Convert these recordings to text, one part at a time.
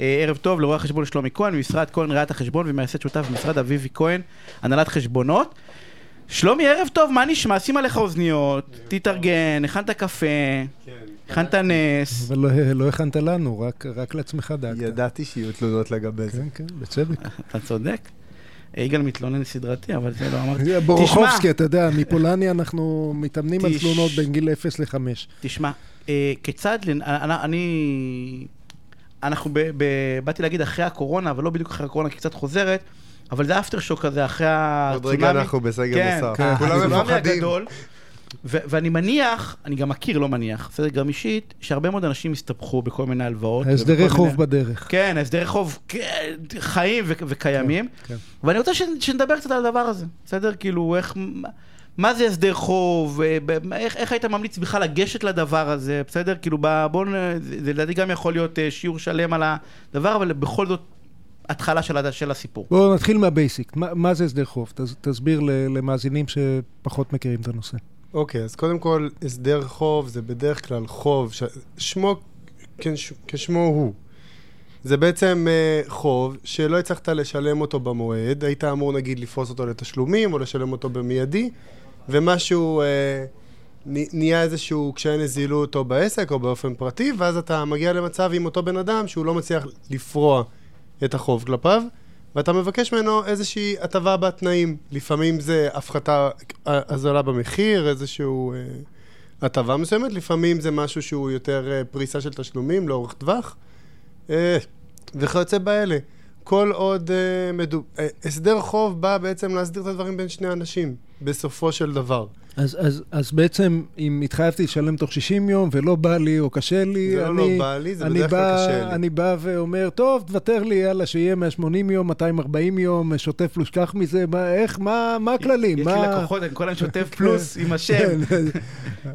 אה, ערב טוב לרואה החשבון שלומי כהן, ממשרד כהן ראיית החשבון ומייסד שותף במשרד אביבי כהן, הנהלת חשבונות. שלומי, ערב טוב, מה נשמע? שים עליך אוזניות, תתארגן, הכנת קפה, כן. הכנת נס. אבל לא- לא הכנת לנו, רק- רק לעצמך דאגת. ידעתי שיהיו תלונות לגבי זה. כן, כן, בצדק. אתה צודק. יגאל מתלונן סדרתי, אבל זה לא אמרתי. זה בורוכובסקי, אתה יודע, מפולניה אנחנו מתאמנים על תש- תלונות בין גיל 0 ל-5. תשמע, אה, כיצד, לנ- אני- אני, אנחנו, ב, ב, באתי להגיד אחרי הקורונה, אבל לא בדיוק אחרי הקורונה, כי קצת חוזרת, אבל זה אפטר שוק כזה, אחרי הצונאמי. עוד רגע אנחנו בסגר נוסף. כן, כולם הצונאמי מפחדים. הגדול. ו- ואני מניח, אני גם מכיר, לא מניח, בסדר, גם אישית, שהרבה מאוד אנשים הסתבכו בכל מיני הלוואות. הסדרי ובכל חוב מיני- בדרך. כן, הסדרי חוב כן, חיים ו- וקיימים. כן. ואני רוצה ש- שנדבר קצת על הדבר הזה, בסדר? כאילו, איך... מה- מה זה הסדר חוב? אה, ב- איך, איך היית ממליץ בכלל לגשת לדבר הזה, בסדר? כאילו, ב- בואו... נ- זה זה לדעתי גם יכול להיות אה, שיעור שלם על הדבר, אבל בכל זאת, התחלה של, הד- של הסיפור. בואו נתחיל מהבייסיק. מה- מה זה הסדר חוב? תס- תסביר ל- למאזינים שפחות מכירים את הנושא. אוקיי, אז קודם כל, הסדר חוב זה בדרך כלל חוב, ש... שמו כש... כשמו הוא. זה בעצם uh, חוב שלא הצלחת לשלם אותו במועד, היית אמור נגיד לפרוס אותו לתשלומים או לשלם אותו במיידי, ומשהו, uh, נהיה איזשהו קשיי נזילות או בעסק או באופן פרטי, ואז אתה מגיע למצב עם אותו בן אדם שהוא לא מצליח לפרוע את החוב כלפיו, ואתה מבקש ממנו איזושהי הטבה בתנאים. לפעמים זה הפחתה, אה, הזולה במחיר, איזשהו... אה, הטבה מסוימת, לפעמים זה משהו שהוא יותר אה, פריסה של תשלומים לאורך טווח, אה, וכיוצא באלה. כל עוד אה, מדו... אה, הסדר חוב בא בעצם להסדיר את הדברים בין שני אנשים, בסופו של דבר. אז, אז, אז בעצם, אם התחייבתי לשלם תוך 60 יום ולא בא לי או קשה לי, זה לא אני, לא בא לי, זה אני, בדרך כלל קשה בא, לי. אני בא ואומר, טוב, תוותר לי, יאללה, שיהיה 180 יום, 240 יום, שוטף פלוס, קח מזה, מה, איך, מה, מה הכללים? יש מה... לי לקוחות, אני כל הזמן שוטף פלוס עם השם. כן,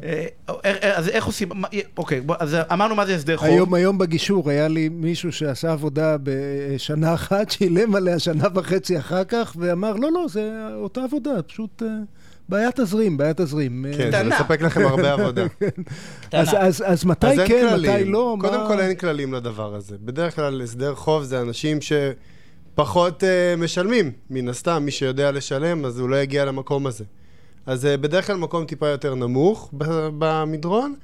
אה, אה, אה, אז איך עושים... מה- אוקיי, בוא, אז אמרנו מה זה הסדר חוב. היום, היום בגישור היה לי מישהו שעשה עבודה בשנה אחת, שילם עליה שנה וחצי אחר כך, ואמר, לא, לא, זה אותה עבודה, פשוט אה, בעיית תזרים, בעיית תזרים. כן, אה, זה קטנה. מספק לכם הרבה עבודה. אז, אז, אז מתי אז אין כן, כללים. מתי לא? קודם מה... כל אין כללים לדבר הזה. בדרך כלל הסדר חוב זה אנשים שפחות אה, משלמים, מן הסתם, מי שיודע לשלם, אז הוא לא יגיע למקום הזה. אז אה, בדרך כלל מקום טיפה יותר נמוך ב- במדרון,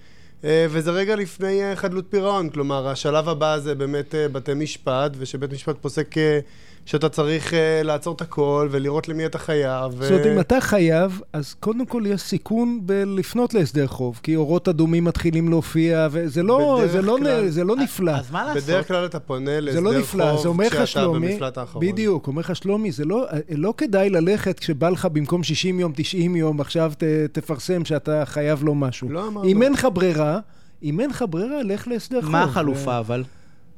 אה, וזה רגע לפני אה, חדלות פירעון. כלומר, השלב הבא זה באמת אה, בתי משפט, ושבית משפט פוסק אה, שאתה צריך אה, לעצור את הכל ולראות למי אתה חייב. זאת אומרת, אה, אם אתה חייב, אז קודם כל יש סיכון בלפנות להסדר חוב, כי אורות אדומים מתחילים להופיע, וזה לא, בדרך זה לא, נ- כלל- זה לא נפלא. אז מה לעשות? בדרך כלל אתה פונה זה לא להסדר נפלא, זה חוב אומר לך כשאתה שלומי, במפלט האחרון. בדיוק, אומר לך שלומי, זה לא, לא כדאי ללכת כשבא לך במקום 60 יום, 90 יום, עכשיו ת, תפרסם שאתה חייב לו משהו. לא אמרנו. אם אין לך ברירה, אם אין לך ברירה, לך להסדר חוב. אה. מה החלופה אבל?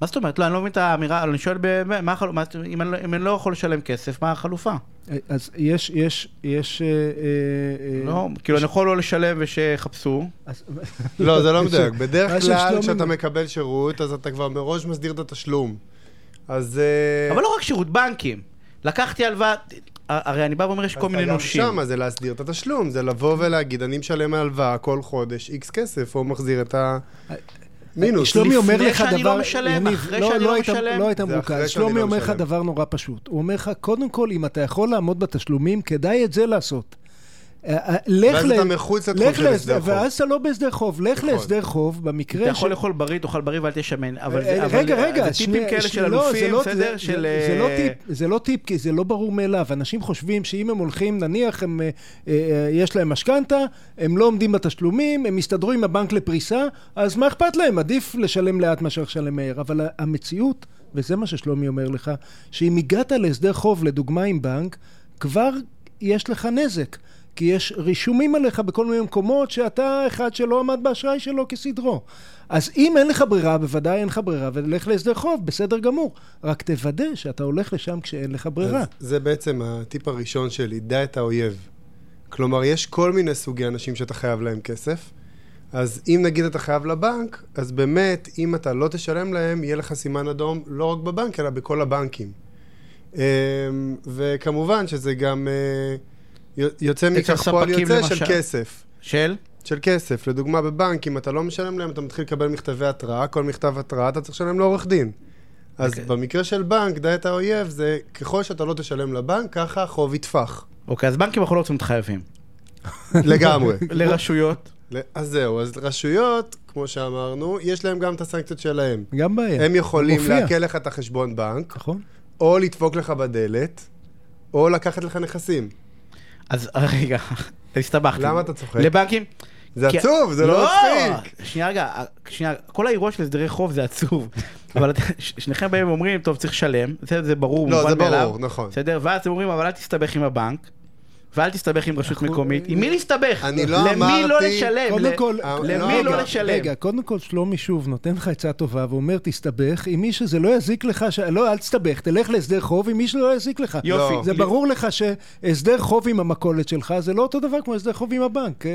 מה זאת אומרת? לא, אני לא מבין את האמירה, אני שואל, ב- ב- מה החלופה? אם אני לא- אם אני לא יכול לשלם כסף, מה החלופה? אה, אז יש, יש, יש... אה, אה, אה, לא, כאילו אני יכול לא לשלם ושיחפשו. אז- לא, זה לא מדויק. בדרך משהו כלל שלא כשאתה מבין. מקבל שירות, אז אתה כבר מראש מסדיר את התשלום. אז... אה. אה, אבל לא רק שירות בנקים. לקחתי הלוואה, הרי אני בא ואומר, יש כל מיני נושים. שם זה להסדיר את התשלום, זה לבוא ולהגיד, אני משלם הלוואה כל חודש איקס כסף, או מחזיר את אה, המינוס. שלומי אומר לפני לך דבר... שאני לא משלם, יניב, אחרי שאני לא היית- משלם. לא היית זה אחרי מרוכז. שאני שלומי לא אומר לך משלם. דבר נורא פשוט. הוא אומר לך, קודם כל, אם אתה יכול לעמוד בתשלומים, כדאי את זה לעשות. אה, אה, לך ואז ל- אתה מחוץ לתחום לך של הסדר להסדר, חוב. ואז אתה לא בהסדר חוב, לך נכון. להסדר חוב, במקרה אתה יכול לאכול בריא, תאכל בריא ואל תשמן. אבל זה- אה, אבל רגע, זה- רגע, זה טיפים שנייה, כאלה של שנייה, לא, זה אלופים, לא- בסדר? זה- של... זה- זה לא אה, טיפ, זה לא טיפ, כי זה לא ברור מאליו. אנשים חושבים שאם הם הולכים, נניח הם, אה, אה, יש להם משכנתה, הם לא עומדים בתשלומים, הם יסתדרו עם הבנק לפריסה, אז מה אכפת להם? עדיף לשלם לאט מאשר לשלם מהר. אבל ה- המציאות, וזה מה ששלומי אומר לך, שאם הגעת להסדר חוב, לדוגמה עם בנק, כבר יש לך נזק. כי יש רישומים עליך בכל מיני מקומות שאתה אחד שלא עמד באשראי שלו כסדרו. אז אם אין לך ברירה, בוודאי אין לך ברירה, ולך להסדר חוב, בסדר גמור. רק תוודא שאתה הולך לשם כשאין לך ברירה. אז זה בעצם הטיפ הראשון שלי, דע את האויב. כלומר, יש כל מיני סוגי אנשים שאתה חייב להם כסף, אז אם נגיד אתה חייב לבנק, אז באמת, אם אתה לא תשלם להם, יהיה לך סימן אדום לא רק בבנק, אלא בכל הבנקים. אמ, וכמובן שזה גם אה, יוצא אצל מכך פועל ספקים יוצא של למשל. כסף. של? של כסף. לדוגמה, בבנק, אם אתה לא משלם להם, אתה מתחיל לקבל מכתבי התראה, כל מכתב התראה אתה צריך לשלם לעורך דין. אז אוקיי. במקרה של בנק, דע את האויב, זה ככל שאתה לא תשלם לבנק, ככה החוב יתפח. אוקיי, אז בנקים אנחנו לא רוצים להיות חייבים. לגמרי. לרשויות. ל- אז זהו, אז רשויות, כמו שאמרנו, יש להם גם את הסנקציות שלהם. גם כן. בעיה. הם יכולים מופיע. לעקל לך את החשבון בנק, נכון? או לדפוק לך בדלת, או לקחת לך נכסים. אז רגע, הסתבכתי. למה אתה צוחק? לבנקים? זה כי- עצוב, זה לא מצחיק. שנייה רגע, שנייה, כל האירוע של הסדרי חוב זה עצוב. אבל את- ש- שניכם באים ואומרים, טוב, צריך לשלם, זה זה ברור, לא, מובן זה מאליו. ברור, נכון. בסדר? ואז אתם אומרים, אבל אל תסתבך עם הבנק, ואל תסתבך עם רשות מקומית. עם מי להסתבך? אני לא למי לא אמרתי- לשלם? קודם ל- כל, אה, למי רגע, לא לשלם? רגע, קודם כל שלומי שוב נותן לך עצה טובה ואומר תסתבך, עם מי שזה לא יזיק לך, ש... לא, אל תסתבך, תלך להסדר חוב עם מי שלא יזיק לך. יופי. לא. זה ברור לך שהסדר חוב עם המכולת שלך זה לא אותו דבר כמו הסדר חוב עם הבנק. אה,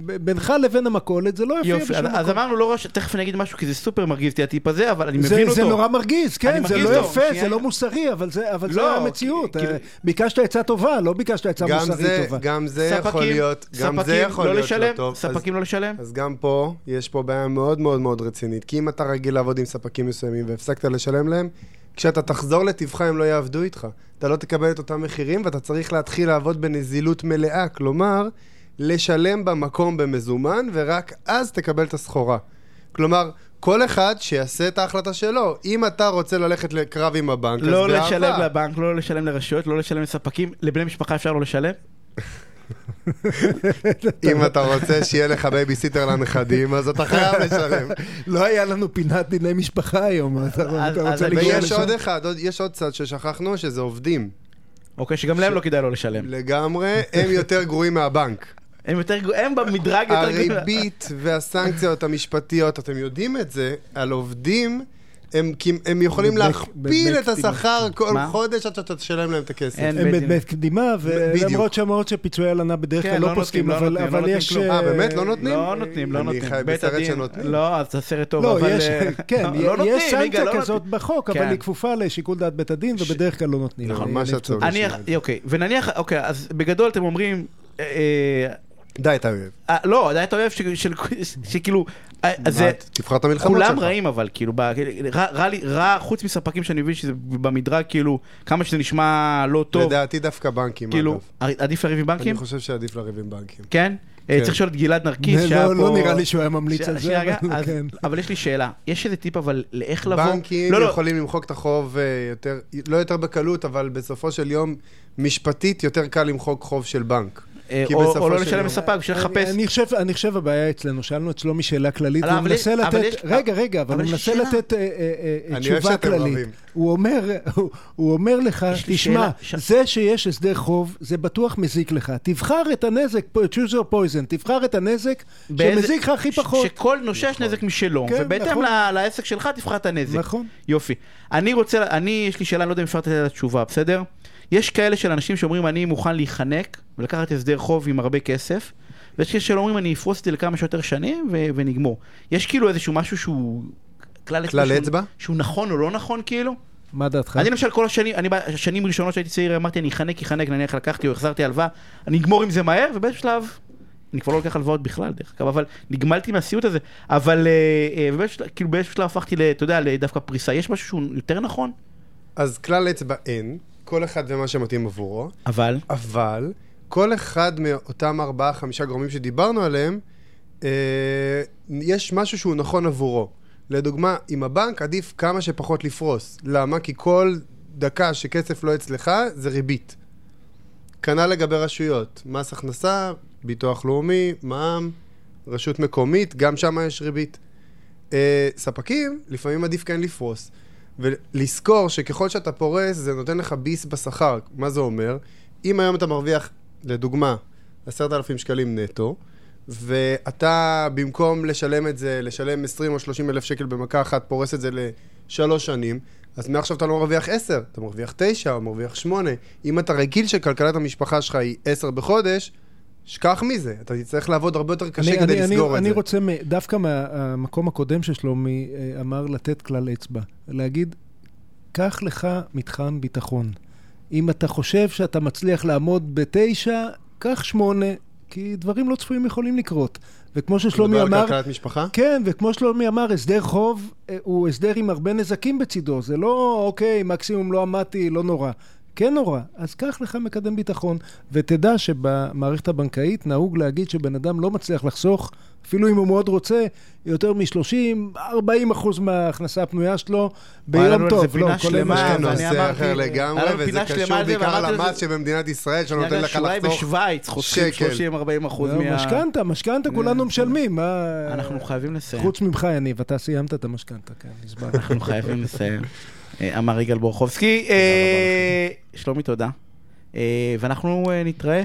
ב- בינך לבין המכולת זה לא יופיע יופי, בשום אז- מקום. אז אמרנו לא רש... תכף אני אגיד משהו, כי זה סופר מרגיז אותי הטיפ הזה, אבל אני זה, מבין זה אותו. נורא מרגיז, אני כן, זה מרגיז לא אותו, יפה, שנייה. זה לא מוסרי, אבל זה, אבל לא, זה המציאות. כי- אה, כי- ביקשת עצה טובה, לא ביקשת עצה גם מוסרית זה, טובה. גם זה יכול להיות, גם זה ספקים, יכול לא להיות לשלם, לא טוב. אז- ספקים לא לשלם? אז גם פה, יש פה בעיה מאוד מאוד מאוד רצינית. כי אם אתה רגיל לעבוד עם ספקים מסוימים והפסקת לשלם להם, כשאתה תחזור לטבך הם לא יעבדו איתך. אתה לא תקבל את אותם מחירים ואתה צריך להתחיל לעבוד בנזילות מלאה. כלומר, לשלם במקום במזומן, ורק אז תקבל את הסחורה. כלומר, כל אחד שיעשה את ההחלטה שלו. אם אתה רוצה ללכת לקרב עם הבנק, לא אז באהבה. לשלם לבנק, לא לשלם לרשויות, לא לשלם לספקים, לבני משפחה אפשר לא לשלם? אם אתה רוצה שיהיה לך בייביסיטר לנכדים, אז אתה חייב לשלם. לא היה לנו פינת דיני משפחה היום, אתה אז- אתה אז רוצה אני- לגרום בגלל ויש לשם? עוד אחד, עוד- יש עוד צד ששכחנו, שזה עובדים. אוקיי, שגם להם לא כדאי לא לשלם. לגמרי, הם יותר גרועים מהבנק. הם יותר גרו- הם במדרג יותר גדול. הריבית כן, והסנקציות המשפטיות, אתם יודעים את זה, על עובדים, הם כמ- הם יכולים בבלק- להכפיל בבלק את השכר כל מה? חודש עד שאתה תשלם להם את הכסף. אין הם בדיוק. באמת קדימה, ולמרות בדיוק. שהמרות שפיצויי הלנה בדרך כן, כלל לא לא נותנים, פוסקים, לא אבל נותנים, לא אבל נותנים יש... כלום. אה, באמת? לא נותנים? לא נותנים, לא אני נותנים. חי בית בסרט הדין- שנותנים. לא, אז זה סרט טוב, לא, אבל... יש, אה, כן, לא י- נותנים, יש רגע, סנקציה לא כזאת בחוק, כן. אבל היא כפופה לשיקול דעת בית הדין, ובדרך כלל לא נותנים. נכון, אה, מה לפצוע. שעצוב. נותנים. אני- אוקיי, ונניח, אוקיי, אז בגדול אתם אומרים... אה, אה, די, אתה אוהב. אה, לא, עדיין אתה אוהב ש- של- שכאילו... אה, זה... מה, תבחר את המלחמות שלך. כולם רעים אבל, כאילו, ב- רע- רע לי- רע, חוץ מספקים שאני מבין שזה במדרג, כאילו, כמה שזה נשמע לא טוב, לדעתי דווקא בנקים, כאילו, אגב. עדיף לריב עם בנקים? אני חושב שעדיף לריב עם בנקים. כן? אה, כן. צריך לשאול את גלעד נרקיס, לא- שהיה פה... לא נראה לי שהוא היה ממליץ ש- על זה, שנייה, אבל אז- כן. אבל יש לי שאלה, יש איזה טיפ אבל לאיך לבוא... בנקים לא, לא, יכולים למחוק את החוב אה, יותר, לא יותר בקלות, אבל בסופו של יום, משפטית יותר קל למחוק חוב של בנק. אה, כי או- בסופו או לא של לשלם יום- לספק בשביל אני- לחפש. אני חושב, אני חושב הבעיה אצלנו, שאלנו את שלומי שאלה כללית, אבל- הוא אבל מנסה יש- אבל לתת, יש- רגע, רגע, אבל אבל הוא יש מנסה שאלה. לתת אה, אה, אה, אני אוהב תשובה שאתם כללית. רבים. הוא אומר, הוא- הוא אומר לך, יש לי תשמע, שאלה- ש- זה שיש הסדר חוב, זה בטוח מזיק לך. תבחר את הנזק, פה, choose your poison, תבחר את הנזק באיזה- שמזיק לך הכי ש- פחות. שכל נושא יש נזק משלו, כן, ובהתאם נכון. ל- לעסק שלך תבחר את הנזק. נכון. יופי. אני רוצה, אני, יש לי שאלה, אני לא יודע אם אפשר לתת לה תשובה, בסדר? יש כאלה של אנשים שאומרים, אני מוכן להיחנק ולקחת הסדר חוב עם הרבה כסף, ויש כאלה שאומרים, אני אפרוס את זה לכמה שיותר שנים ו- ונגמור. יש כאילו איזשהו משהו שהוא... כלל כלל שהוא- אצבע? שהוא נכון או לא נכון, כאילו? מה דעתך? אני למשל כל השנים, אני בשנים ראשונות שהייתי צעיר אמרתי אני אחנק, אחנק, נניח לקחתי או החזרתי הלוואה, אני אגמור עם זה מהר, ובאיזשהו שלב, אני כבר לא לוקח הלוואות בכלל דרך אגב, אבל נגמלתי מהסיוט הזה, אבל אה, אה, ובאיזשהו שלב- כאילו באיזשהו שלב הפכתי, ל- אתה יודע, לדווקא פריסה, יש משהו שהוא יותר נכון? אז כלל אצבע אין, כל אחד ומה שמתאים עבורו, אבל? אבל כל אחד מאותם ארבעה, חמישה גורמים שדיברנו עליהם, אה, יש משהו שהוא נכון עבורו. לדוגמה, עם הבנק עדיף כמה שפחות לפרוס. למה? כי כל דקה שכסף לא אצלך, זה ריבית. כנ"ל לגבי רשויות, מס הכנסה, ביטוח לאומי, מע"מ, רשות מקומית, גם שם יש ריבית. אה, ספקים, לפעמים עדיף כן לפרוס. ולזכור שככל שאתה פורס, זה נותן לך ביס בשכר. מה זה אומר? אם היום אתה מרוויח, לדוגמה, עשרת אלפים שקלים נטו, ואתה במקום לשלם את זה, לשלם 20 או 30 אלף שקל במכה אחת, פורס את זה לשלוש שנים, אז מעכשיו אתה לא מרוויח 10, אתה מרוויח 9 או מרוויח 8. אם אתה רגיל שכלכלת המשפחה שלך היא 10 בחודש, שכח מזה, אתה תצטרך לעבוד הרבה יותר קשה כדי לסגור אני, את אני זה. רוצה, מ- דווקא מהמקום הקודם ששלומי אה, אמר, לתת כלל אצבע. להגיד, קח לך מתחם ביטחון. אם אתה חושב שאתה מצליח לעמוד בתשע, קח שמונה. כי דברים לא צפויים יכולים לקרות. וכמו שלומי ששלומי אמר... מדבר על אמר, כלכלת משפחה? כן, וכמו שלומי אמר, הסדר חוב אה, הוא הסדר עם הרבה נזקים בצידו. זה לא, אוקיי, מקסימום לא עמדתי, לא נורא. כן נורא. אז קח לך מקדם ביטחון, ותדע שבמערכת הבנקאית נהוג להגיד שבן אדם לא מצליח לחסוך, אפילו אם הוא מאוד רוצה, יותר מ-30-40 אחוז מההכנסה הפנויה שלו היה לנו ביום על טוב. זה פינה לא, כולל שלמה, משכנתה. ואני זה נושא אמרתי- אחר היה לגמרי, לנו וזה פינה קשור שלמה על זה, בעיקר ואמרתי למס לזה- שבמדינת ישראל, שלא נותן לך אולי לחסוך. בשוויץ חוסכים שקל. 30-40 אחוז לא, מה... משכנתה, משכנתה כולנו משלמים. מה- אנחנו חייבים לסיים. חוץ ממך, יניב, אתה סיימת את המשכנתה, כן, נזמן. אנחנו חייבים לסיים. אה, אמר יגאל בורחובסקי. אה, שלומי, תודה. אה, ואנחנו אה, נתראה